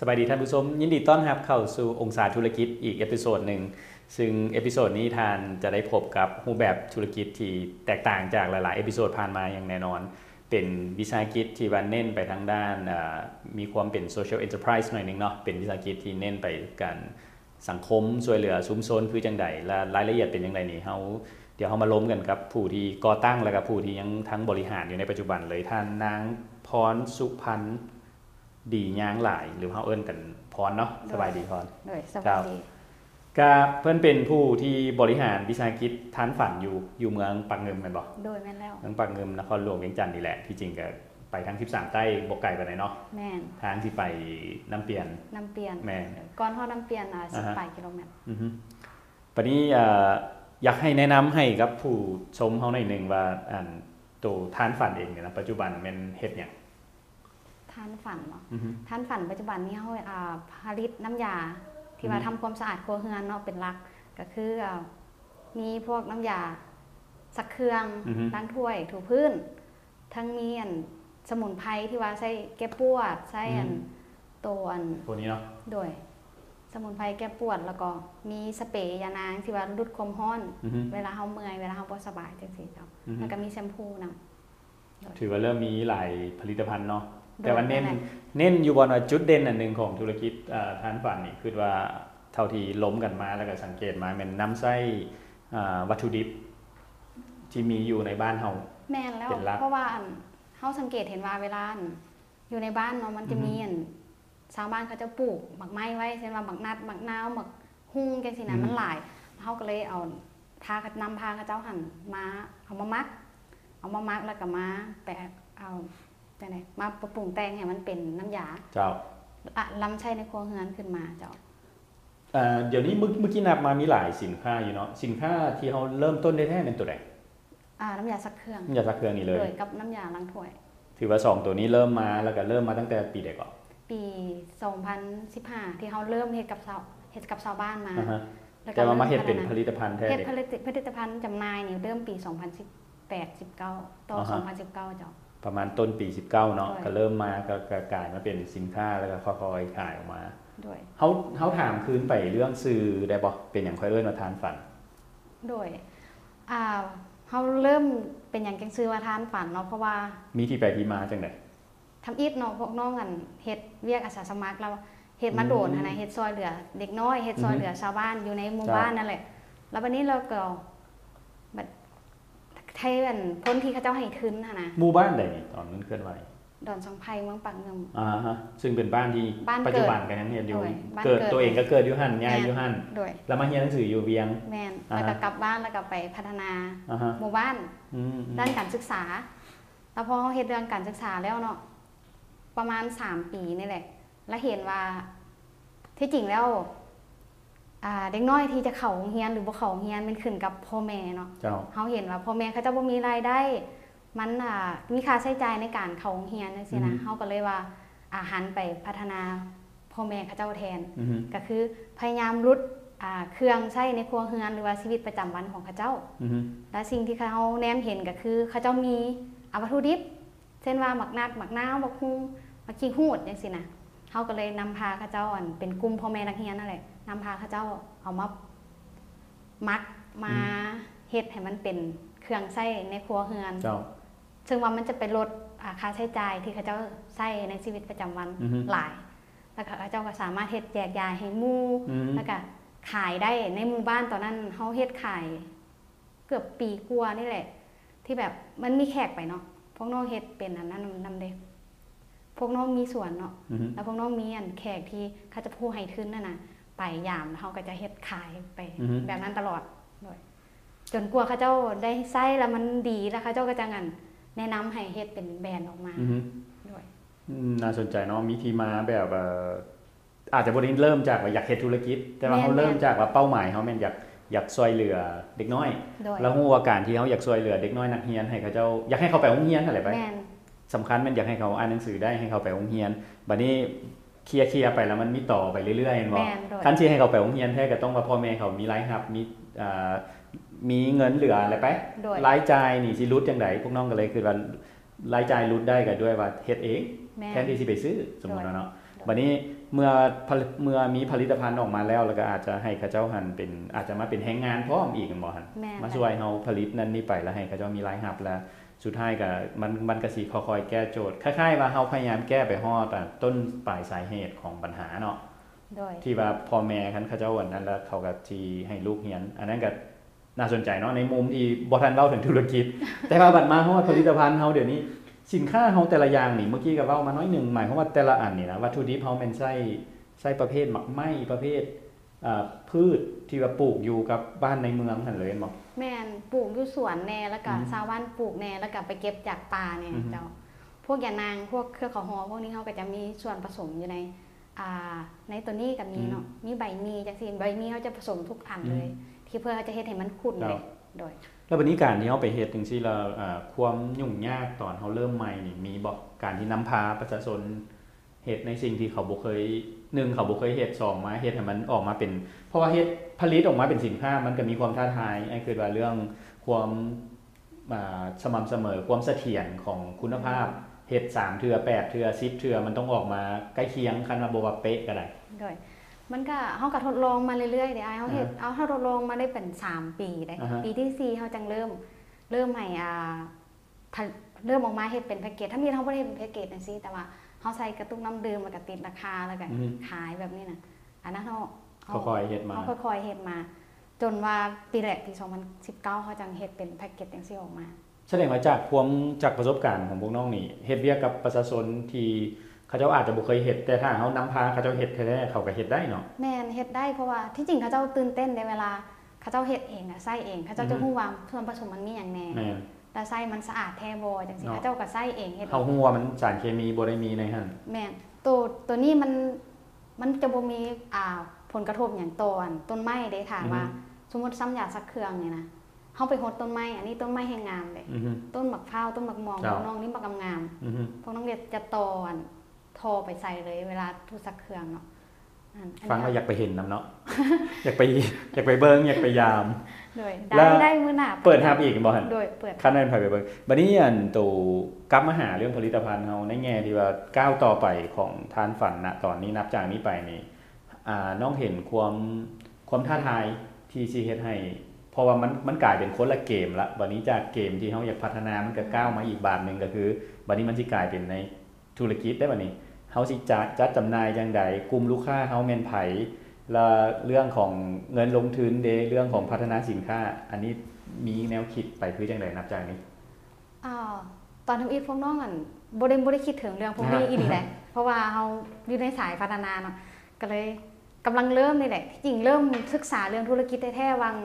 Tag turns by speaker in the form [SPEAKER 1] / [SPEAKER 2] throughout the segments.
[SPEAKER 1] สบายดีท่านผู้ชมยินดีต้อนรับเข้าสู่องศาธุรกิจอีกเอพิโซดหนึ่งซึ่งเอพิโซดนี้ทานจะได้พบกับรูปแบบธุรกิจที่แตกต่างจากหลาย ๆ เอพิโซดผ่านมาอย่างแน่นอน เป็นวิสาหกิจที่วันเน้นไปทางด้านอ่ามีความเป็นโซเชียลเอ็นเตอร์ไพรส์หน่อยหนึงเนาะเป็นวิสาหกิจที่เน้นไปการสังคมช่วยเหลือชุมชนคือจังใดและรายละเอียดเป็นจังใดนี่เฮาเดี๋ยวเฮามาล้มกันกับผู้ที่ก่อตั้งและกับผู้ที่ยังทั้งบริหารอยู่ในปัจจุบันเลยท่านนางพรสุพันธ ดีย่างหลายหรือเฮาเอิ้นกันพรเนาะสบายดีพร
[SPEAKER 2] โดยสวัสดี
[SPEAKER 1] ก็เพิ่นเป็นผู้ที่บริหารวิสาหกิจทานฝันอยู่อยู่เมืองปักเงิมแม่นบ่
[SPEAKER 2] โดยแม่นแล้ว
[SPEAKER 1] เมืองปักเงิมนครหลวงเวียงจันทน์นี่แหละที่จริงก็ไปทาง 13 ใต้บ่ไกลปานใดเนาะ
[SPEAKER 2] แม่น
[SPEAKER 1] ทางที่ไปน้ำเปียน
[SPEAKER 2] น้ำเปลี่ยน
[SPEAKER 1] แม่น
[SPEAKER 2] ก้อนท่อดน้ำเปลี่ยนอ่ะ
[SPEAKER 1] อ่า
[SPEAKER 2] สิบ
[SPEAKER 1] ฮะ
[SPEAKER 2] แปดกิโลเมตร
[SPEAKER 1] อือฮึปานนี้เอ่ออยากให้แนะนำให้กับผู้ชมเฮาหน่อยหนึงว่าอันตัวทานฝันเองเนี่ยนะปัจจุบันแม่นเฮ็ดหยัง
[SPEAKER 2] ท่านฝันเนาะ
[SPEAKER 1] อือฮึ
[SPEAKER 2] ท่านฝันปัจจุบันนี้เขาอ่าผลิตน้ำยา ที่
[SPEAKER 1] อื
[SPEAKER 2] ว่า
[SPEAKER 1] อฮึ
[SPEAKER 2] ทำความสะอาดครัวเรือนเนาะเป็นหลัก ก็คืออ่ามีพวกน้ำยาสักเครื่อง
[SPEAKER 1] อือฮึ
[SPEAKER 2] ล้างถ้วยถูพื้น ทั้งมีอันสมุนไพรที่ว่าใช้แก้ปวดใช้อันตัวอัน
[SPEAKER 1] ตัวนี้เนาะ
[SPEAKER 2] โดย สมุนไพรแก้ปวดแล้วก็มีสเปรย์ยานางที่ว่าลดความร้อน
[SPEAKER 1] อือฮึ
[SPEAKER 2] เวลาเขาเมื่อยเวลาเขาปวดสบายจังซี่เจ้า
[SPEAKER 1] อือฮึ
[SPEAKER 2] แล้วก็มีแชมพูน
[SPEAKER 1] ถือว่าเริ่มมีหลายผลิตภัณฑ์เนาะ
[SPEAKER 2] ำ
[SPEAKER 1] แต่ว่าเน้นเน้นอยู่บนว่าจุดเด่นอันหนึ่งของธุรกิจเอ่อทานฝันนี่คือว่าเท่าที่ล้มกันมาแล้วก็สังเกตมาเป็นน้ำไส้อ่าวัตถุดิบ ที่มีอยู่ในบ้านเฮา
[SPEAKER 2] แม่นแล้ว
[SPEAKER 1] เป็นหลัก
[SPEAKER 2] เพราะว่าอันเขาสังเกตเห็นว่าเวลาอันอยู่ในบ้านเนาะมันจะ
[SPEAKER 1] อือฮึ
[SPEAKER 2] มีอันชาวบ้านเขาจะปลูกหมักไม้ไว้เช่นว่าหมักนัดหมักนาวหมักหุ่งแกงสินะมันหลายเขาก็เลยเอาพากันำพาเขาเจ้าหันมาเอามามัก เอามามักแล้วก็มาแปะเอาไปไหนมาปรุงแต่งให้มันเป็นน้ำยา
[SPEAKER 1] เจ้า
[SPEAKER 2] อะล้ำใช้ในครัวเรือนขึ้นมาเจ้า
[SPEAKER 1] เอ่อเดี๋ยวนี้เมื่อเมื่อกี้นับมามีหลายสินค้าอยู่เนาะสินค้าที่เราเริ่มต้นได้แท้เป็นตัวไหน
[SPEAKER 2] อ่าน้ำยาซักเครื่อง
[SPEAKER 1] อย่าตะเครื่องนี้เลย
[SPEAKER 2] กับน้ำยาล้างถ้วย
[SPEAKER 1] ถือว่า 2 ตัวนี้เริ่มมาแล้วก็เริ่มมาตั้งแต่ปีเด็กก่อน
[SPEAKER 2] ปี 2015 ที่เขาเริ่มเฮ็ดกับชาวเฮ็ดกับชาวบ้านมา
[SPEAKER 1] อ่าฮะ
[SPEAKER 2] ล้วก็
[SPEAKER 1] แต่ว่ามาเห็ดเป็น
[SPEAKER 2] ริ่
[SPEAKER 1] ผ
[SPEAKER 2] ม
[SPEAKER 1] ลิตภัณฑ์
[SPEAKER 2] พัฒ
[SPEAKER 1] แท้
[SPEAKER 2] นาเฮ็ด
[SPEAKER 1] เด็ก
[SPEAKER 2] ผลิตผลิตภัณฑ์จำหน่ายนี่เริ่มปี 2018 19ต่อ
[SPEAKER 1] อ่าฮะ
[SPEAKER 2] 2019เจ้า
[SPEAKER 1] ประมาณต้นปี 19เนาะ
[SPEAKER 2] ใช่
[SPEAKER 1] ก็เริ่มมาก็ก็กลายมาเป็นสินค้าแล้วก็ค่อยๆขายออกมา
[SPEAKER 2] ด้วย
[SPEAKER 1] เขาเขาถามคืนไปเรื่องซื้อได้บ่เป็นอย่างค่อยเอิ้นว่าทานฝัน
[SPEAKER 2] ด้วยอ่าเขาเริ่มเป็นอย่างแกงซื้อว่าทานฝันเนาะเพราะว่า
[SPEAKER 1] มีที่ไปที่มาจังได
[SPEAKER 2] ทำอีทเนาะพวกน้องกันเฮ็ดเรียกอาสาสมัครแล้วเฮ็ดมาโดน
[SPEAKER 1] อืม
[SPEAKER 2] หั้นนะเฮ็ดซอยเหลือ เด็กน้อยเฮ็ดซอย
[SPEAKER 1] อือฮึ
[SPEAKER 2] เหลือชาวบ้านอยู่ในหมู่
[SPEAKER 1] ครับ
[SPEAKER 2] บ้านนั่นแหละแล้ววันนี้เราก็บัดไทยอันพ้นที่เขาเจ้าให้ทุนหั้นนะ
[SPEAKER 1] หมู่บ้านใดนี่ตอนนั้นเคลื่อนไหว
[SPEAKER 2] ดอนสองไพรเมืองปักเงิม
[SPEAKER 1] อ่าฮะซึ่งเป็นบ้านที่
[SPEAKER 2] บ้านเกิด
[SPEAKER 1] ปัจจุบันกันยังเรียนอยู่
[SPEAKER 2] โอ้ยบ้าน
[SPEAKER 1] เกิด
[SPEAKER 2] เกิด
[SPEAKER 1] ตัวเองก็เกิดอยู่หั่นย้ายอยู่หั่น
[SPEAKER 2] โดย
[SPEAKER 1] แล้วมาเรียนหนังสืออยู่เวียง
[SPEAKER 2] แมน
[SPEAKER 1] อ่า
[SPEAKER 2] แล้ว
[SPEAKER 1] ฮะ
[SPEAKER 2] ก็กลับบ้านแล้วก็ไปพัฒนา
[SPEAKER 1] อ่าฮะ
[SPEAKER 2] หมู่บ้าน
[SPEAKER 1] อืมอืม
[SPEAKER 2] ด้านการศึกษา แล้วพอเขาเห็นเรื่องการศึกษาแล้วเนาะประมาณสามปีนี่แหละ แล้วเห็นว่าที่จริงแล้วอ่าเด็กน้อยที่จะเข่าโรงเรียนหรือบ่เข่าโรงเรียนมันขึ้นกับพ่อแม่เนาะ
[SPEAKER 1] เจ้า
[SPEAKER 2] เขาเห็นว่าพ่อแม่เขาจะบ่มีรายได้ มันอ่ามีค่าใช้จ่ายในการเข่าโรงเรียนนั่นสินะเขาก็เลยว่าอาหันไปพัฒนาพ่อแม่เขาเจ้าแทน
[SPEAKER 1] อือฮึ
[SPEAKER 2] ก็คือพยายามรุดอ่าเครื่องใช้ในครัวเรือนหรือว่าชีวิตประจำวันของเข้าเจ้า
[SPEAKER 1] อือฮึ
[SPEAKER 2] และสิ่งที่เขาแนมเห็นก็คือเขาเจ้ามีอาวัตถุดิบ เช่นว่าหมักนัดหมักน้าวหมักฮุงหมักขี้หูดอย่างสินะเขาก็เลยนำพาเข้าเจ้าอันเป็นกลุ่มพ่อแม่นักเรียนนั่นแหละนำพาเข้าเจ้าเอามามักมาเฮ็ดให้มันเป็นเครื่องใช้ในครัวเรือน
[SPEAKER 1] เจ้า
[SPEAKER 2] ซึ่งว่ามันจะไปลดอ่าค่าใช้จ่ายที่เขาเจ้าใช้ในชีวิตประจำวัน
[SPEAKER 1] อือฮึ
[SPEAKER 2] หลาย แล้วก็เขาเจ้าก็สามารถเฮ็ดแจกยายให้หมู่
[SPEAKER 1] อืม
[SPEAKER 2] แล้วก็ขายได้ในหมู่บ้านตอนนั้นเขาเฮ็ดขาย เกือบปีกว่านี่แหละ ที่แบบมันมีแขกไปเนาะพวกน้องเฮ็ดเป็นอันนั้นนำเด็กพวกน้องมีสวนเนาะ
[SPEAKER 1] อือฮึ
[SPEAKER 2] แล้วพวกน้องมีอันแขกที่เขาจะพูดให้ทึนนั่นน่ะไปยามเขาก็จะเฮ็ดขายไป
[SPEAKER 1] อือฮึ
[SPEAKER 2] แบบนั้นตลอดเลยจนกลัวเขาเจ้าได้ไส้แล้วมันดีแล้วเขาเจ้าก็จะงันแนะนำให้เฮ็ดเป็นแบรนด์ออกมา
[SPEAKER 1] อือฮึ
[SPEAKER 2] ด้วย
[SPEAKER 1] อืมน่าสนใจเนาะมีที่มาแบบเอ่ออาจจะบ่ได้เริ่มจากว่าอยากเฮ็ดธุรกิจ แต่ว่าเขาเริ่มจากว่าเป้าหมายเขาแม่นอยากอยากช่วยเหลือเด็กน้อย
[SPEAKER 2] โดย
[SPEAKER 1] แล้วหัวาการที่เขาอยากช่วยเหลือเด็กน้อยนักเรียนให้เขาเจ้าอยากให้เขาไปโรงเรียนอะไรไป
[SPEAKER 2] แมน
[SPEAKER 1] สำคัญมันอยากให้เขาอ่านหนังสือได้ให้เขาไปโรงเรียนบัดนี้เคลียร์เคลียร์ไปแล้วมันมีต่อไปเรื่อยๆเห็น
[SPEAKER 2] แม
[SPEAKER 1] บ่
[SPEAKER 2] นโดย
[SPEAKER 1] คันที่ให้เขาไปโรงเรียนแท้ก็ต้องว่าพ่อแม่เขามีรายรับมีอ่ามีเงินเหลืออะไรไป
[SPEAKER 2] โดย
[SPEAKER 1] รายจ่ายนี่สิรุดจังไดพวกน้องก็เลยคือว่ารายจ่ายรุดได้ก็ด้วยว่าเฮ็ดเอง
[SPEAKER 2] แม
[SPEAKER 1] แท
[SPEAKER 2] น
[SPEAKER 1] นที่สิไปซื้อสมมุติว่าเนาะ
[SPEAKER 2] โดย
[SPEAKER 1] บัดนี้ เมื่อผลิตเมื่อมีผลิตภัณฑ์ออกมาแล้ว แล้วก็อาจจะให้เข้าเจ้าหันเป็นอาจจะมาเป็นแรงงานพร้อมอีกแม่นบ่หัน
[SPEAKER 2] แม่น
[SPEAKER 1] มา
[SPEAKER 2] ค่ะ
[SPEAKER 1] ช่วยเฮาผลิตนั่นนี่ไปแล้วให้เขาเจ้ามีรายหับแล้วสุดท้ายก็มันมันก็สิค่อยๆแก้โจทย์คล้ายๆว่าเฮาพยายามแก้ไปฮอดอะต้นปลายสาเหตุของปัญหาเนาะ
[SPEAKER 2] โดย
[SPEAKER 1] ที่ว่าพ่อแม่คันเขาเจ้าวันนั้นแล้วเขาก็ที่ให้ลูกเรียน อันนั้นก็น่าสนใจเนาะในมุมที่บ่ทันเล่าถึงธุร กิจ แต่ว่าบัดมาฮอดผลิตภัณฑ์เฮาเดี๋ยวนี้ สินค้าเฮาแต่ละอย่างนี่เมื่อกี้ก็เว้ามาน้อยหนึงหมายความว่าแต่ละอันนี่นะวัตถุดิบเฮาแม่นไส้ไส้ประเภทหมักไหม้ประเภทอ่าพืชที่ว่าปลูกอยู่กับบ้านในเมืองนั่นเลยแม่นบ่
[SPEAKER 2] แม่นปลูกอยู่สวนแน่แล้วก็
[SPEAKER 1] อืม
[SPEAKER 2] ชาวบ้านปลูกแน่แล้วก็ไปเก็บจากป่าเนี่ย
[SPEAKER 1] อือฮึ
[SPEAKER 2] เจ้าพวกยานางพวกเครือเขาหอพวกนี้เขาก็จะมีส่วนผสมอยู่ในอ่าในตัวนี้กับนี้เนาะมีใบมีจังซีใบมีเขาจะผสมทุกอันเลย ที่เพื่อเขาจะเฮ็ดให้มันขุ่นเลยโดย
[SPEAKER 1] แล้วบันนี้การที่เขาไปเฮ็ดจังซี่เราเอ่อความยุ่งยากตอนเขาเริ่มใหม่นี่มีบอกการที่นำพาประชาชนเฮ็ดในสิ่งที่เขาบ่เคยหนึ่งเขาบ่เคยเฮ็ดสองมาเฮ็ดให้มันออกมาเป็น เพราะว่าเฮ็ดผลิตออกมาเป็นสินค้ามันก็มีความท้าทายไอ้คือว่าเรื่องความอ่าสม่ำเสมอความเสถียรของคุณภาพเฮ็ดสามเทื่อแปดเทื่อสิบเทื่อมันต้องออกมาใกล้เคียงคันว่าบ่ว่าเป๊ะก็ได้
[SPEAKER 2] โดย มันก็เขาก็ทดลองมาเรื่อยๆเดี๋ยวไอ้เขาเห็นเอาเขาทดลองมาได้เป็นสามปีได้
[SPEAKER 1] อ่าฮะ
[SPEAKER 2] ปีที่สี่เขาจังเริ่ม เริ่มให้อ่าทะเริ่มออกมาเห็ดเป็นแพ็กเกจถ้ามีเขาไม่ได้เป็นแพ็กเกจนะซิแต่ว่าเขาใส่กระตุกน้ำดื่มแล้วก็ติดราคาแล้วก็
[SPEAKER 1] อืม
[SPEAKER 2] ขายแบบนี้นะอันนั้นเขาเขา
[SPEAKER 1] ค่อยๆเฮ็ดมา
[SPEAKER 2] เขาค่อยๆเห็ดมา จนว่าปีแรกปี 2019เขาจังเห็ดเป็นแพ็กเกจอย่างซี่ออกมา
[SPEAKER 1] แสดงว่าจากความจากประสบการณ์ของพวกน้องนี่เฮ็ดเวียกกับประชาชนที่เขาเจ้าอาจจะบ่เคยเฮ็ดแต่ถ้าเขานำพาเขาเจ้าเฮ็ดแท้ๆเขาก็เฮ็ดได้เนาะ
[SPEAKER 2] แมนเฮ็ดได้เพราะว่าที่จริงเขาเจ้าตื่นเต้นในเวลาเขาเจ้าเฮ็ดเองอะไส้เองเขาเจ้าจะ
[SPEAKER 1] อือฮึ
[SPEAKER 2] หู้ว่าส่วนผสมมันมีอย่างแน่
[SPEAKER 1] แม่น
[SPEAKER 2] แต่ไส้มันสะอาดแท้บอจังสิ
[SPEAKER 1] เนาะ
[SPEAKER 2] เจ้าก็ไส้เองเฮ็ด
[SPEAKER 1] เขาฮู้ว่ามันสารเคมีบ่ได้มีในหั่น
[SPEAKER 2] แม่นตัวตัวนี้มันมันจะบ่มีอ่าผลกระทบอย่างตอนต้นไม้เด้ถาม
[SPEAKER 1] อือฮึ
[SPEAKER 2] ว่า สมมติซ้ำยาสักเครื่องเนี่ยนะเฮาไปหดต้นไม้อันนี้ต้นไม้แห่งงามเลย
[SPEAKER 1] อือฮึ
[SPEAKER 2] ต้นหมักพร้าวต้นหมักมอง
[SPEAKER 1] ครั
[SPEAKER 2] พ
[SPEAKER 1] บ
[SPEAKER 2] วกน้องนี่บักงาม
[SPEAKER 1] อือฮึ
[SPEAKER 2] ๆพวกน้องเด็ดจะตอนทอไปใส่เลย เวลาทุกสักเครื่องเนาะนั่นอัน
[SPEAKER 1] ฟังแล้ว
[SPEAKER 2] นี้
[SPEAKER 1] อยากไปเห็นนํ เนาะ อยากไปอยากไปเบิ่งอยากไปยาม
[SPEAKER 2] โดย
[SPEAKER 1] แล้
[SPEAKER 2] ได้
[SPEAKER 1] ว
[SPEAKER 2] ได้มื้อหน้า
[SPEAKER 1] เปิดหับอีกบ่หั่น
[SPEAKER 2] โดยเปิด
[SPEAKER 1] คันนั้นไปไปเบิ่งบัดนี้อันตูกลับมาหาเรื่องผลิตภัณฑ์เฮาในแง่ที่ว่าก้าวต่อไปของทานฝันณตอนนี้นับจากนี้ไปนี่ อ่าน้องเห็นความความท้าทายที่ซีเฮ็ดให้เพราะว่ามันมันกลายเป็นคนละเกมละวันนี้จากเกมที่เขาอยากพัฒนามันก็ก้าวมาอีกบาทหนึ่งก็คือวันนี้มันสิกลายเป็นในธุรกิจได้วันนี้เขาสิจะจัดจำหน่ายจังใดกลุ่มลูกค้าเขาแมนไผและเรื่องของเงินลงทุนเดเรื่องของพัฒนาสินค้า อันนี้มีแนวคิดไปคือจังใดนับจากนี้
[SPEAKER 2] อ่าตอนทำอีทพวกน้องอ่ะบริบริคิดถึงเรื่องพวกนี้
[SPEAKER 1] ฮะ
[SPEAKER 2] อีกแหละ เพราะว่าเราอยู่ในสายพัฒนาเนาะก็เลยกำลังเริ่มนี่แหละที่จริงเริ่มศึกษาเรื่องธุรกิจแท้ๆวัง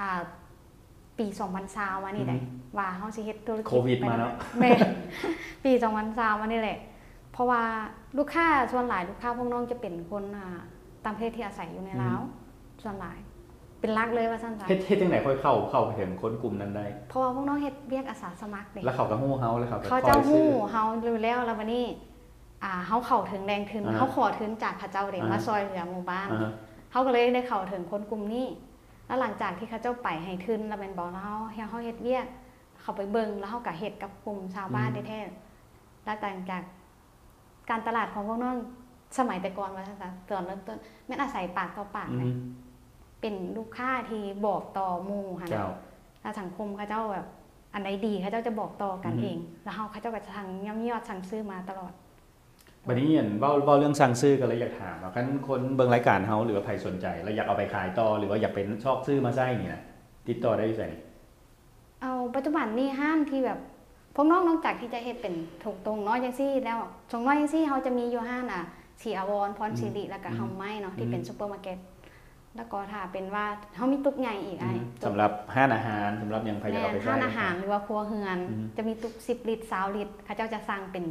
[SPEAKER 2] อ่าปี2020มานี่แหละว่าเฮาสิเฮ็ดธุรกิจ
[SPEAKER 1] โควิด
[SPEAKER 2] ไป
[SPEAKER 1] มาเนาะ
[SPEAKER 2] แม่ ปี2020มานี่แหละ เพราะว่าลูกค้าส่วนหลายลูกค้าพวกน้องจะเป็นคนอ่าตามประเทศที่อาศัยอยู่ในลาวส่วนหลาย เป็นหลักเลยว่าซั่นซะ
[SPEAKER 1] เฮ็ดเฮ็ดจังใดค่อยเข้าเข้าไปถึงคนกลุ่มนั้นได้
[SPEAKER 2] เพราะว่าพวกน้องเฮ็ดเรียกอาสาสมัครเด้
[SPEAKER 1] แล้วเขาก็ฮู้เฮาแล้วเขาก็
[SPEAKER 2] เขา
[SPEAKER 1] ค
[SPEAKER 2] เจ้า
[SPEAKER 1] อยซื้
[SPEAKER 2] หู้
[SPEAKER 1] อ
[SPEAKER 2] เฮารู้แล้วแล้ววันนี้อ่าเฮาเข้าถึงแรงทึน
[SPEAKER 1] อ่าฮะ
[SPEAKER 2] เขาขอทึนจากพระเจ้าเด่น
[SPEAKER 1] อ่าฮะ
[SPEAKER 2] มาซอยเหลือหมู่บ้าน
[SPEAKER 1] อ่าฮะ
[SPEAKER 2] เขาก็เลยได้เข้าถึงคนกลุ่มนี้ แล้วหลังจากที่เขาเจ้าไปให้ทึนแล้วเป็นบอกแล้วเฮาเฮาเฮ็ดเวียกเขาไปเบิ่งแล้วเฮาก็เฮ็ดกับกลุ่มชาวบ้าน
[SPEAKER 1] อืม
[SPEAKER 2] แท้ๆแล้วต่างจากการตลาดของพวกน้องสมัยแต่ก่อนว่าซั่นซะตอนเริ่มต้นแม่นอาศัยปากต่อปาก
[SPEAKER 1] อือ
[SPEAKER 2] นะ
[SPEAKER 1] ฮึ
[SPEAKER 2] เป็นลูกค้าที่บอกต่อหมู่หั่น
[SPEAKER 1] เจ้า
[SPEAKER 2] น่ะ ถ้าสังคมเขาเจ้าแบบอันใดดีเขาเจ้าจะบอกต่อกัน
[SPEAKER 1] อือฮึ
[SPEAKER 2] เอง แล้วเขาเขาเจ้าก็จะทางย่ำยอดสั่งซื้อมาตลอด
[SPEAKER 1] วันนี้เห็นเว่าเว่าเรื่องสั่งซื้อกันเลยอยากถามว่าคันคนเบิ่งรายการเฮาหรือว่าใครสนใจ แล้วอยากเอาไปขายต่อหรือว่าอยากเป็นชอบซื้อมาไส้เนี่ยติดต่อได้ที่ไหน
[SPEAKER 2] เอาปัจจุบันนี่ห้านที่แบบพวกน้องนอกจากที่จะเฮ็ดเป็นถูกตรงเน้อยยังซี่แล้วชงน้อยยังซี่เขาจะมีอยู่ห้านอ่ะสีอาวรพร
[SPEAKER 1] อืม
[SPEAKER 2] สิริแล้วก็
[SPEAKER 1] อืม
[SPEAKER 2] เฮาไม้เนาะ
[SPEAKER 1] อื
[SPEAKER 2] ที่
[SPEAKER 1] ม
[SPEAKER 2] เป็นซูเปอร์มาร์เก็ตแล้วก็ถ้าเป็นว่าเขามีตุกใหญ่อีกไอ้
[SPEAKER 1] สำหรับห้านอาหารสำหรับยังใครอยาก
[SPEAKER 2] แม่
[SPEAKER 1] เอาไป
[SPEAKER 2] ห้า
[SPEAKER 1] ใช้
[SPEAKER 2] นอาหารหรือว่าครัวเฮือน
[SPEAKER 1] อืม
[SPEAKER 2] จะมีตุกสิบลิตรสาวลิตรเขาเจ้าจะสั่งเป็น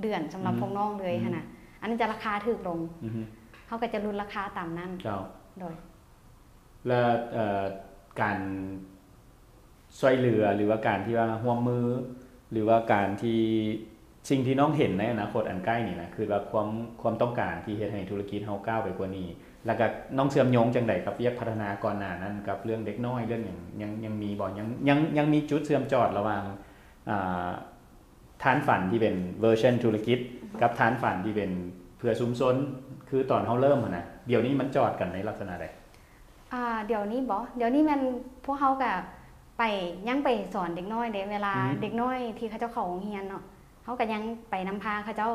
[SPEAKER 2] เดือนสำหรับ
[SPEAKER 1] อืม
[SPEAKER 2] พวกน้องเลย
[SPEAKER 1] อืม
[SPEAKER 2] ค่ะนะอันนี้จะราคาถูกลง
[SPEAKER 1] อือฮึ
[SPEAKER 2] เขาก็จะรุนราคาตามนั้น
[SPEAKER 1] เจ้า
[SPEAKER 2] โดย
[SPEAKER 1] และเอ่อการช่วยเหลือหรือว่าการที่ว่าห่วมมือ หรือว่าการที่สิ่งที่น้องเห็นในอนาคตอันใกล้นี่นะคือว่าความความต้องการที่เฮ็ดให้ธุรกิจเฮาก้าวไปกว่านี้ แล้วก็น้องเสื่อมโยงจังใดครับเรียกพัฒนาก่อนหน้านั้นกับเรื่องเด็กน้อยเรื่องอย่างยังยังมีบ่ยังยังยังมีจุดเสื่อมจอดระหว่างอ่าฐานฝันที่เป็นเวอร์ชันธุรกิจ กับฐานฝันที่เป็น เผื่อชุมชนคือตอนเขาเริ่มอะนะเดี๋ยวนี้มันจอดกันในลักษณะใด
[SPEAKER 2] อ่าเดี๋ยวนี้บอเดี๋ยวนี้มันพวกเขากับไปยังไปสอนเด็กน้อยเด็กเวลาเด็กน้อยที่เขาเจ้าเขาโรงเรียนเนาะเขาก็ยังไปนำพาเขาเจ้า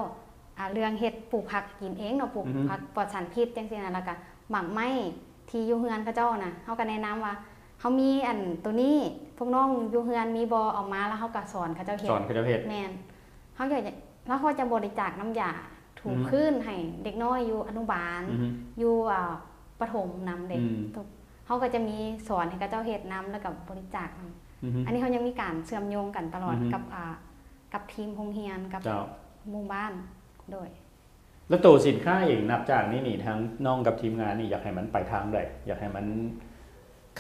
[SPEAKER 2] อ่าเรื่องเฮ็ดปลูกผักกินเองเนาะปลูกผักปลอดสารพิษจังซี่นะแล้วก็หมักไม้ที่อยู่เฮือนเขาเจ้านะเขาก็แนะนำว่าเขามีอันตัวนี้พวกน้องอยู่เฮือนมีบอออกมาแล้วเขาก็สอนเขาเจ้าเฮ็
[SPEAKER 1] ส
[SPEAKER 2] ด
[SPEAKER 1] อนคือประเภท
[SPEAKER 2] แมนเขาอยากจะแล้วเขาจะบริจาคน้ำยาถู
[SPEAKER 1] อืม
[SPEAKER 2] ขึ้นให้เด็กน้อยอยู่อนุบาล
[SPEAKER 1] อือฮึ
[SPEAKER 2] อยู่อ่าประถมนำเด็ก
[SPEAKER 1] อืม
[SPEAKER 2] ทุกเขาก็จะมีสอนให้กับเจ้าเฮ็ดน้ำแล้วกับบริจาคน้ำ
[SPEAKER 1] อือฮึ
[SPEAKER 2] อันนี้เขายังมีการเชื่อมโยงกันตลอด
[SPEAKER 1] อือฮึ
[SPEAKER 2] กับอ่ากับทีมโรงเรียนกับ
[SPEAKER 1] เจ้า
[SPEAKER 2] หมู่บ้านด้วย
[SPEAKER 1] แล้วตัวสินค้าเองนับจากนี้นี่ทั้งน้องกับทีมงานนี่อยากให้มันไปทางใดอยากให้มัน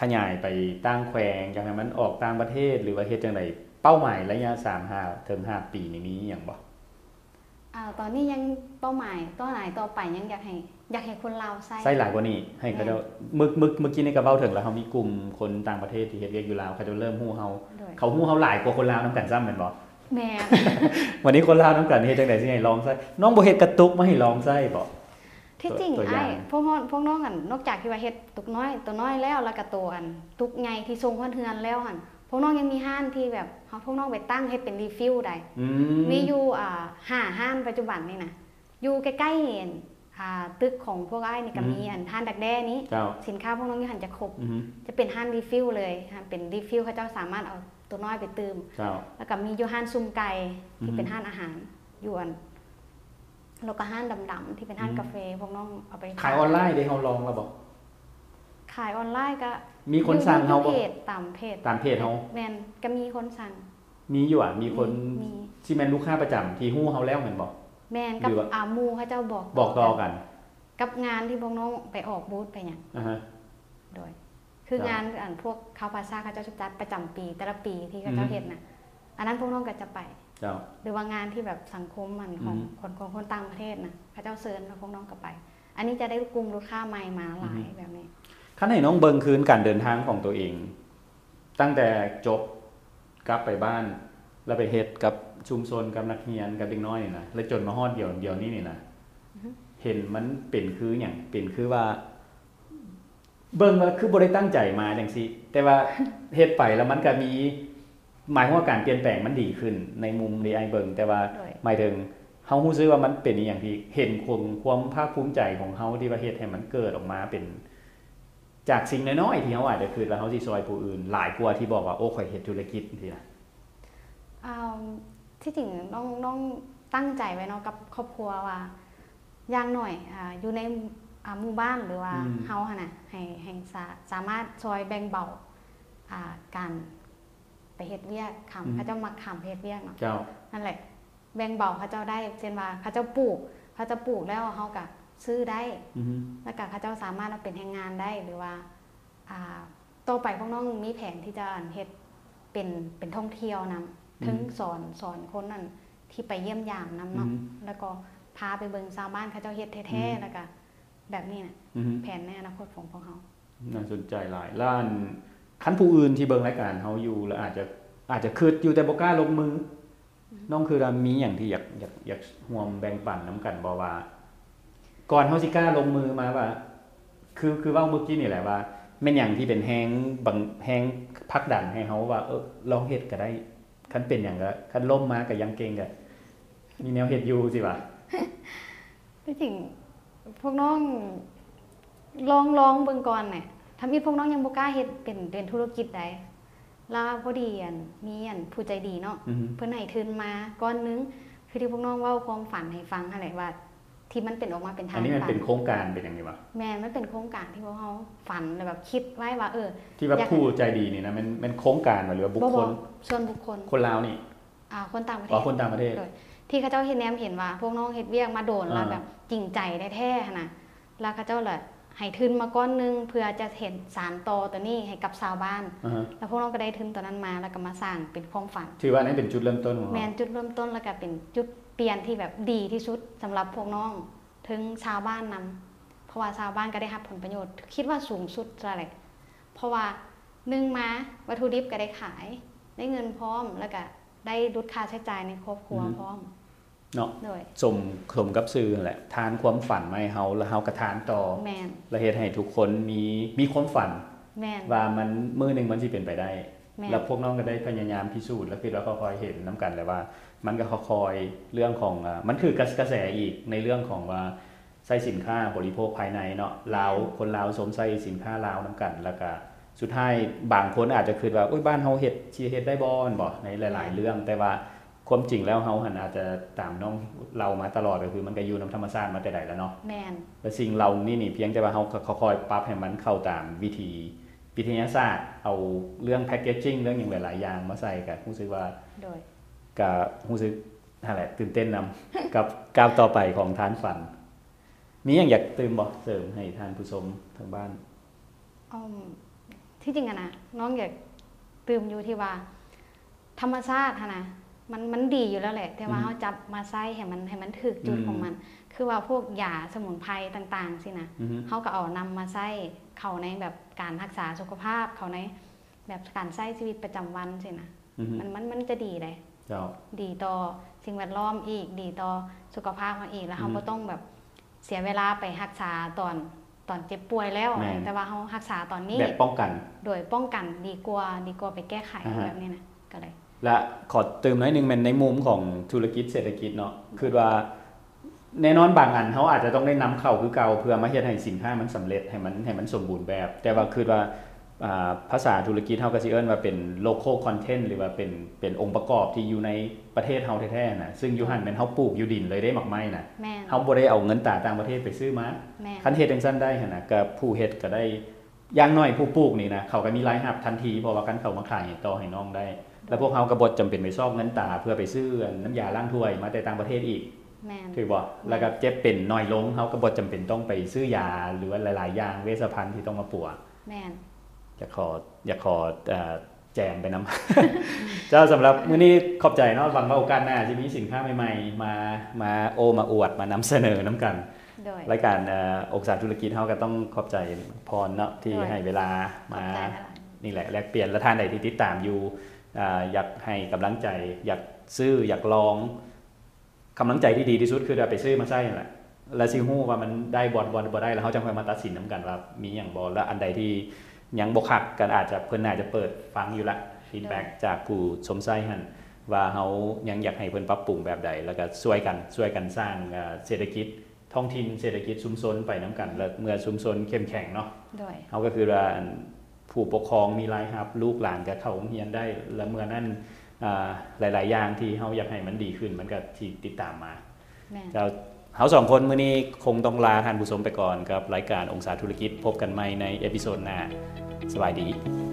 [SPEAKER 1] ขยายไปตั้งแขวงอยากให้มันออกต่างประเทศหรือว่าเฮ็ดจังไดเป้าหมายระยะสามห้าเทอมห้าปีนี่มีอย่างบ่
[SPEAKER 2] อ่าตอนนี้ยังเป้าหมายตัวไหนต่อไปยังอยากให้อยากให้คนเราวใส่
[SPEAKER 1] ไส้หลายกว่านี้ให้เขาเจ้ามึกมึกเมื่อกี้นี่ก็เว้าถึงแล้วเฮามีกลุ่มคนต่างประเทศที่เฮ็ดเวียกอยู่ลาวเขาจะเริ่มฮู้เฮา
[SPEAKER 2] ด้วย
[SPEAKER 1] เขาฮู้เฮาหลายกว่าคนลาวนํกันซ้ำแม่นบ่
[SPEAKER 2] แมน
[SPEAKER 1] วันนี้คนลาวนํกันเฮ็ดจังไดสิให้ลองไส้น้องบ่เฮ็ดกระตุกมาให้ลองไส้บ่
[SPEAKER 2] ที่
[SPEAKER 1] ตัว
[SPEAKER 2] จริง
[SPEAKER 1] ตัวอย่า
[SPEAKER 2] ไอ้
[SPEAKER 1] ง
[SPEAKER 2] พวกน้องพวกน้องอันนอกจากที่ว่าเฮ็ดตุกน้อยตัวน้อยแล้วแล้วก็ตัวอันตุกใหญ่ที่ทรงฮอดเฮือนแล้วอันพวกน้องยังมีห้านที่แบบเฮาพวกน้องไปตั้งเฮ็ดเป็นรีฟิลได้
[SPEAKER 1] อื
[SPEAKER 2] มีอยู่อ่าห้าห้านปัจจุบันนี่นะอยู่ใกล้ๆอันอ่าตึกของพวกไอ้นี่ก็มีอันห้านดักแด้นี้
[SPEAKER 1] เจ้า
[SPEAKER 2] สินค้าพวกน้องอยู่หันจะครบ
[SPEAKER 1] อือฮึ
[SPEAKER 2] จะเป็นห้านรีฟิลเลยห้านเป็นรีฟิลเขาเจ้าสามารถเอาตัวน้อยไปตื่ม
[SPEAKER 1] เจ้า
[SPEAKER 2] แล้วก็มีอยู่ห้านซุมไก่
[SPEAKER 1] อือ
[SPEAKER 2] ที่
[SPEAKER 1] ฮึ
[SPEAKER 2] เป็นห้านอาหารยวนแล้วก็ห้านดำๆที่เป็นห้าน
[SPEAKER 1] อืม
[SPEAKER 2] กาแฟพวกน้องเอาไป
[SPEAKER 1] ขายออนไลน์ได้เฮาลองแล้วบ่
[SPEAKER 2] ขายออนไลน์ก็
[SPEAKER 1] มีคนสั่งเฮา
[SPEAKER 2] อยู่
[SPEAKER 1] บ่
[SPEAKER 2] ในเพจตามเพจ
[SPEAKER 1] ตามเพจเฮา
[SPEAKER 2] แมนก็มีคนสั่ง
[SPEAKER 1] มีอยู่อ่ะ มีคน
[SPEAKER 2] มี
[SPEAKER 1] ที่แม่นลูกค้าประจำที่ฮู้เฮาแล้วเหมือนบอก
[SPEAKER 2] แมนกับ
[SPEAKER 1] หรือว่า
[SPEAKER 2] อามูเขาเจ้าบอก
[SPEAKER 1] บอกต่อกัน
[SPEAKER 2] กับงานที่พวกน้องไปออกบูธไปเนี่ย
[SPEAKER 1] อ่าฮะ
[SPEAKER 2] โดย คือ
[SPEAKER 1] ครับ
[SPEAKER 2] งานอันพวกคาวพาซาเขาเจ้าชุบจัดประจำปี แต่ละปีที่เขา
[SPEAKER 1] อื
[SPEAKER 2] เจ้าม เห็นน่ะ อันนั้นพวกน้องก็จะไป
[SPEAKER 1] เจ้า
[SPEAKER 2] หรือว่างานที่แบบสังคมมันของ
[SPEAKER 1] อือฮึ
[SPEAKER 2] คนของคนต่างประเทศนะพระเจ้าเซิร์นแล้วพวกน้องกลับไป อันนี้จะได้กลุ่มลูกค้าใหม่มาหลา
[SPEAKER 1] อื
[SPEAKER 2] ย
[SPEAKER 1] อฮึ
[SPEAKER 2] แบบนี้
[SPEAKER 1] ขั้นให้น้องเบิงคืนการเดินทางของตัวเอง ตั้งแต่จบกลับไปบ้าน แล้วไปเฮ็ดกับชุมชนกับนักเรียนกับเด็กน้อยนี่นะแล้วจนมาฮอดเดียวเดียวนี้นี่นะเห็นมันเป็นคืออย่างเป็นคือว่า เบิ่งว่าคือบ่ได้ตั้งใจมาจังซี่แต่ว่า เฮ็ดไปแล้วมันก็มี หมายความว่าการเปลี่ยนแปลงมันดีขึ้น ในมุมดีไอเบิ่งแต่ว่า
[SPEAKER 2] ด้วย
[SPEAKER 1] หมายถึงเฮาฮู้ซื้อว่ามันเป็นอหย่างที่เห็นความความภาคภูมิใจของเฮาที่ประเทศให้มันเกิดออกมาเป็น จากสิ่งน้อยๆที่เฮาอาจจะคิดว่าเฮาสิซอยผู้อื่น หลายกว่าที่บอกว่าโอ้ข่อยเฮ็ดธุรกิจนี่นะ
[SPEAKER 2] อ่าที่จริงน้องน้องตั้งใจไว้เนาะกับครอบครัวว่าอย่างหน่อยอ่าอยู่ในอ่าหมู่บ้านหรือว่า
[SPEAKER 1] อืม
[SPEAKER 2] เฮาหนนะให้ให้สาสามารถช่วยแบ่งเบาอ่าการไปเฮ็ดเวียกขำพระเจ้ามักขำไปเฮ็ดเวียกเนาะ
[SPEAKER 1] เจ้า
[SPEAKER 2] นั่นแหละแบ่งเบาเขาเจ้าได้เช่นว่าเขาเจ้าปลูกเขาเจะปลูกแล้วเขาก็ซื้อได้
[SPEAKER 1] อือฮึ
[SPEAKER 2] แล้วก็เขาเจ้าสามารถเอาเป็นแรงงานได้หรือว่าอ่าโตอไปพวกน้องมีแผนที่จะเฮ็ดเป็นเป็นท่องเที่ยวนำถึงสอนสอนคนนั่นที่ไปเยี่ยมยามนำเนาะ
[SPEAKER 1] อือฮึ
[SPEAKER 2] แล้วก็พาไปเบิงชาวบ้านเขาเจ้าเฮ็ดแท้
[SPEAKER 1] อืม
[SPEAKER 2] ๆแล้วก็แบบนี้นะ
[SPEAKER 1] อือฮึ
[SPEAKER 2] แผนในอนาคตของพวกเขา
[SPEAKER 1] น่าสนใจหลายล้านคันผู้อื่นที่เบิ่งรายการเฮาอยู่แล้วอาจจะอาจจะคิดอยู่แต่บ่กล้าลงมืออน้องคือว่ามีอย่างที่อยากอยากอยากร่วมแบ่งปันนํกันบ่ว่า ก่อนเฮาสิกล้าลงมือมาว่า คือคือเว่าเมื่อกี้นี่แหละว่าแม่นอย่างที่เป็นแฮงบังแฮงพักดันให้เขาว่าเออลองเฮ็ดก็ได้คันเป็นอย่างก็คันล่มมาก็ยังเก่งก็มีแนวเฮ็ดอยู่สิวะ
[SPEAKER 2] ที่จริงพวกน้องลองลองเบิ่งก่อนน่ะทำอีพวกน้องยังบ่กล้าเฮ็ดเป็นเป็นธุรกิจใดแล้วพอดีอันมีอันผู้ใจดีเนาะ
[SPEAKER 1] อือฮึ
[SPEAKER 2] เพื่อนให้ทุนมาก้อนนึง คือที่พวกน้องเว่าความฝันให้ฟังอะไรว่า ที่มันเป็นออกมาเป็นทา
[SPEAKER 1] อั
[SPEAKER 2] ง
[SPEAKER 1] นนี้มัน
[SPEAKER 2] ฝั
[SPEAKER 1] เป็นโครงการเป็นอย่างนี้วะ
[SPEAKER 2] แมนมันเป็นโครงการที่พวกเขาฝันแบบคิดไว้ว่า เออ
[SPEAKER 1] ที่ว่าผู้ใจดีนี่นะมันมันโครงการบ่หรือว่าบุคคล
[SPEAKER 2] ชวนบุคคล
[SPEAKER 1] คนลาวนี่
[SPEAKER 2] อ่าคนต่างประเท
[SPEAKER 1] อ๋อ
[SPEAKER 2] ศ
[SPEAKER 1] คนต่างประเทศ
[SPEAKER 2] ที่เขาเจ้าเห็นแนมเห็นว่า พวกน้องเฮ็ดเวียกมาโดน
[SPEAKER 1] อ่า
[SPEAKER 2] แล้วแบบจริงใจได้แท้ขนะแล้วเขาเจ้าเลยให้ทุนมาก้อนนึงเพื่อจะเห็นสารโตอตัวนี้ให้กับชาวบ้าน
[SPEAKER 1] อ่าฮะ
[SPEAKER 2] แล้วพวกน้องก็ได้ทุนตัวนั้นมาแล้วก็มาสร้างเป็นความฝัน
[SPEAKER 1] ถือว่าอันนั้นเป็นจุดเริ่มต้นของ
[SPEAKER 2] แม
[SPEAKER 1] เรา
[SPEAKER 2] นจุดเริ่มต้นแล้วก็เป็นจุดเปลี่ยนที่แบบดีที่สุดสำหรับพวกน้อง ถึงชาวบ้านนำเพราะว่าชาวบ้านก็ได้รับผลประโยชน์ คิดว่าสูงสุดอะไรเพราะว่าหนึ่งมาวัตถุดิบก็ได้ขาย ได้เงินพร้อมแล้วก็ได้ลดค่าใช้จ่ายในครอบครัวพร้อม
[SPEAKER 1] เนาะ
[SPEAKER 2] โดย
[SPEAKER 1] สมสมกับซื้อนั่นแหละทานความฝันมาให้เฮาแล้วเฮากระทานต่อ
[SPEAKER 2] แมน
[SPEAKER 1] และเฮ็ดให้ทุกคนมีมีความฝัน
[SPEAKER 2] แมน
[SPEAKER 1] ว่ามันมือหนึ่งมันสิเป็นไปได้
[SPEAKER 2] แมน
[SPEAKER 1] แล้วพวกน้องก็ได้พยายามพิสูจน์แล้วคิดว่าก็คอยเห็นน้ำกันเลยว่า มันก็คอยเรื่องของอ่ามันคือกระกระแสอีกในเรื่องของว่าใช้สินค้าบริโภคภายในเนาะลาวคนลาวสวมใส่สินค้าลาวน้ำกันแล้วก็สุดท้ายบางคนอาจจะคิดว่าอุ้ยบ้านเฮาเฮ็ดชีเฮ็ดได้บอนบ่ในหลาย ๆ เรื่อง แต่ว่าความจริงแล้วเฮาหันอาจจะตามน้องเรามาตลอดก็คือมันก็อยู่น้ำธรรมชาติมาแต่ใดแล้วเนาะ
[SPEAKER 2] แมน
[SPEAKER 1] แต่สิ่งเรานี่นี่เพียงแต่ว่าเขาเขาคอยปรับให้มันเข้าตามวิธีวิทยาศาสตร์ เอาเรื่องแพ c เกจ i ิ้งเรื่องอย่างหลาย ๆ อย่างมาใส่กับรู้สึกว่า
[SPEAKER 2] โดย
[SPEAKER 1] กับรู้ สึกนั่นแหละตื่นเต้นนำ กับก้าวต่อไปของทานฝัน มีอย่างอยากเตื่นบอกเสริมให้ทานผู้ชมทางบ้าน
[SPEAKER 2] อ้อมที่จริงอะนะน้องอยากตื่มอยู่ที่ว่า ธรรมชาติอะนะมันมันดีอยู่แล้วแหละ แต่ว่า
[SPEAKER 1] อืม
[SPEAKER 2] เขาจับมาใส่ให้มันให้มันถึกจุด
[SPEAKER 1] อืม
[SPEAKER 2] ของมัน คือว่าพวกยาสมุนไพรต่าง ๆ สินะ
[SPEAKER 1] อือฮึ
[SPEAKER 2] เขาก็เอานำมาใส่เขาในแบบการรักษาสุขภาพ เขาในแบบการใช้ชีวิตประจำวันสินะ
[SPEAKER 1] อือฮึ
[SPEAKER 2] มันมันมันจะดีเลย
[SPEAKER 1] เจ้า
[SPEAKER 2] ดีต่อสิ่งแวดล้อมอีก ดีต่อสุขภาพเราอีกแล้วเขา
[SPEAKER 1] อืม
[SPEAKER 2] ก็ต้องแบบเสียเวลาไปรักษาตอนตอนเจ็บป่วยแล้ว
[SPEAKER 1] แม่น
[SPEAKER 2] แต่ว่าเขารักษาตอนนี้
[SPEAKER 1] แบบป้องกัน
[SPEAKER 2] โดยป้องกันดีกว่าดีกว่าไปแก้ไข
[SPEAKER 1] อ่าฮะ
[SPEAKER 2] แบบนี้นะก็เลย
[SPEAKER 1] และขอเติมหน้อยหนึ่งมันในมุมของธุรกิจเศรษฐกิจเนาะคือว่าแน่นอนบางอันเขาอาจจะต้องได้นำเข้าคือเก่าเพื่อมาเฮ็ดให้สินค้ามันสำเร็จให้มันให้มันสมบูรณ์แบบ แต่ว่าคือว่าอ่าภาษาธุรกิจเฮาก็สิเอิ้นว่าเป็นโลโก้คอนเทนต์หรือว่าเป็นเป็นองค์ประกอบที่อยู่ในประเทศเฮาแท้ๆนะซึ่งอยู่หั่นแม่นเฮาปลูกอยู่ดินเลยได้หมักไม้นะ
[SPEAKER 2] แม่น
[SPEAKER 1] เฮาบ่ได้เอาเงินตาต่างประเทศไปซื้อมา
[SPEAKER 2] แม่น
[SPEAKER 1] คันเฮ็ดจังซั่นได้หั่นน่ะก็ผู้เฮ็ดก็ได้อย่างน้อยผู้ปลูกนี่นะเขาก็มีรายรับทันทีเพราะว่ากันเขามาขายต่อให้น้องได้ แล้วพวกเขาก็บ่จำเป็นไปซอกเงินตาเพื่อไปซื้อน้ำยาล้างถ้วยมาแต่ต่างประเทศอีก
[SPEAKER 2] แม่น
[SPEAKER 1] ถือบ่แล้วก็เจ็บเป็นน้อยลงเขาก็บ่จำเป็นต้องไปซื้อยาหรือว่าหลาย ๆ อย่างเวชภัณฑ์ที่ต้องมาปัว
[SPEAKER 2] แม่น
[SPEAKER 1] อยากขออยากขอเอ่อแจมไปนํ เจ้าสำห รับมื้อนี้ขอบใจเนาะหวังว่าโอกาสหน้าจะมีสินค้าใหม่ๆมามาโอมาอวดมานำเสนอนำกัน
[SPEAKER 2] โดย
[SPEAKER 1] รายการเอ่อองศาธุรกิจเฮาก็ต้องขอบใจพรเนาะที่
[SPEAKER 2] ด้วย
[SPEAKER 1] ให้เวลา
[SPEAKER 2] ขอบ
[SPEAKER 1] มา
[SPEAKER 2] ใจอะไร
[SPEAKER 1] นี่แหละแลกเปลี่ยนและท่านใดที่ติดตามอยู่อ่าอยากให้กำลังใจ อยากซื้ออยากลองกำลังใจที่ดีที่สุดคือเอาไปซื้อมาใช่นั่นแหละแล้วซิฮู้ว่ามันได้บอลบอลบ่ได้แล้วเขาจะค่อยมาตัดสินน้ำกันว่ามีอย่างบอลและอันใดที่ยังบกหักกันอาจจะเพิ่นอาจจะเปิดฟังอยู่ละฟีดแบ็จากผู้ชมไส้หันว่าเขายังอยากให้เพิ่นปรับปรุงแบบใด แล้วก็ช่วยกันช่วยกันสร้างเอ่อเศรษฐกิจ ท้องถิ่นเศรษฐกิจชุมชนไปน้ำกัน แล้วเมื่อชุมชนเข้มแข็งเนาะ
[SPEAKER 2] โดย
[SPEAKER 1] เขาก็คือว่าผู้ปกครองมีรายรับ ลูกหลานกับเขาโรงเรียนได้ แล้วเมื่อนั้นอ่าหลาย ๆ อย่างที่เขาอยากให้มันดีขึ้น มันก็ที่ติดตามมา
[SPEAKER 2] แม่น
[SPEAKER 1] เราเขาสองคนมื้อนี้คงต้องลาท่านผู้ชมไปก่อนกับรายการองศาธุรกิจพบกันใหม่ในเอพิโซดหน้าสบายดี
[SPEAKER 2] ส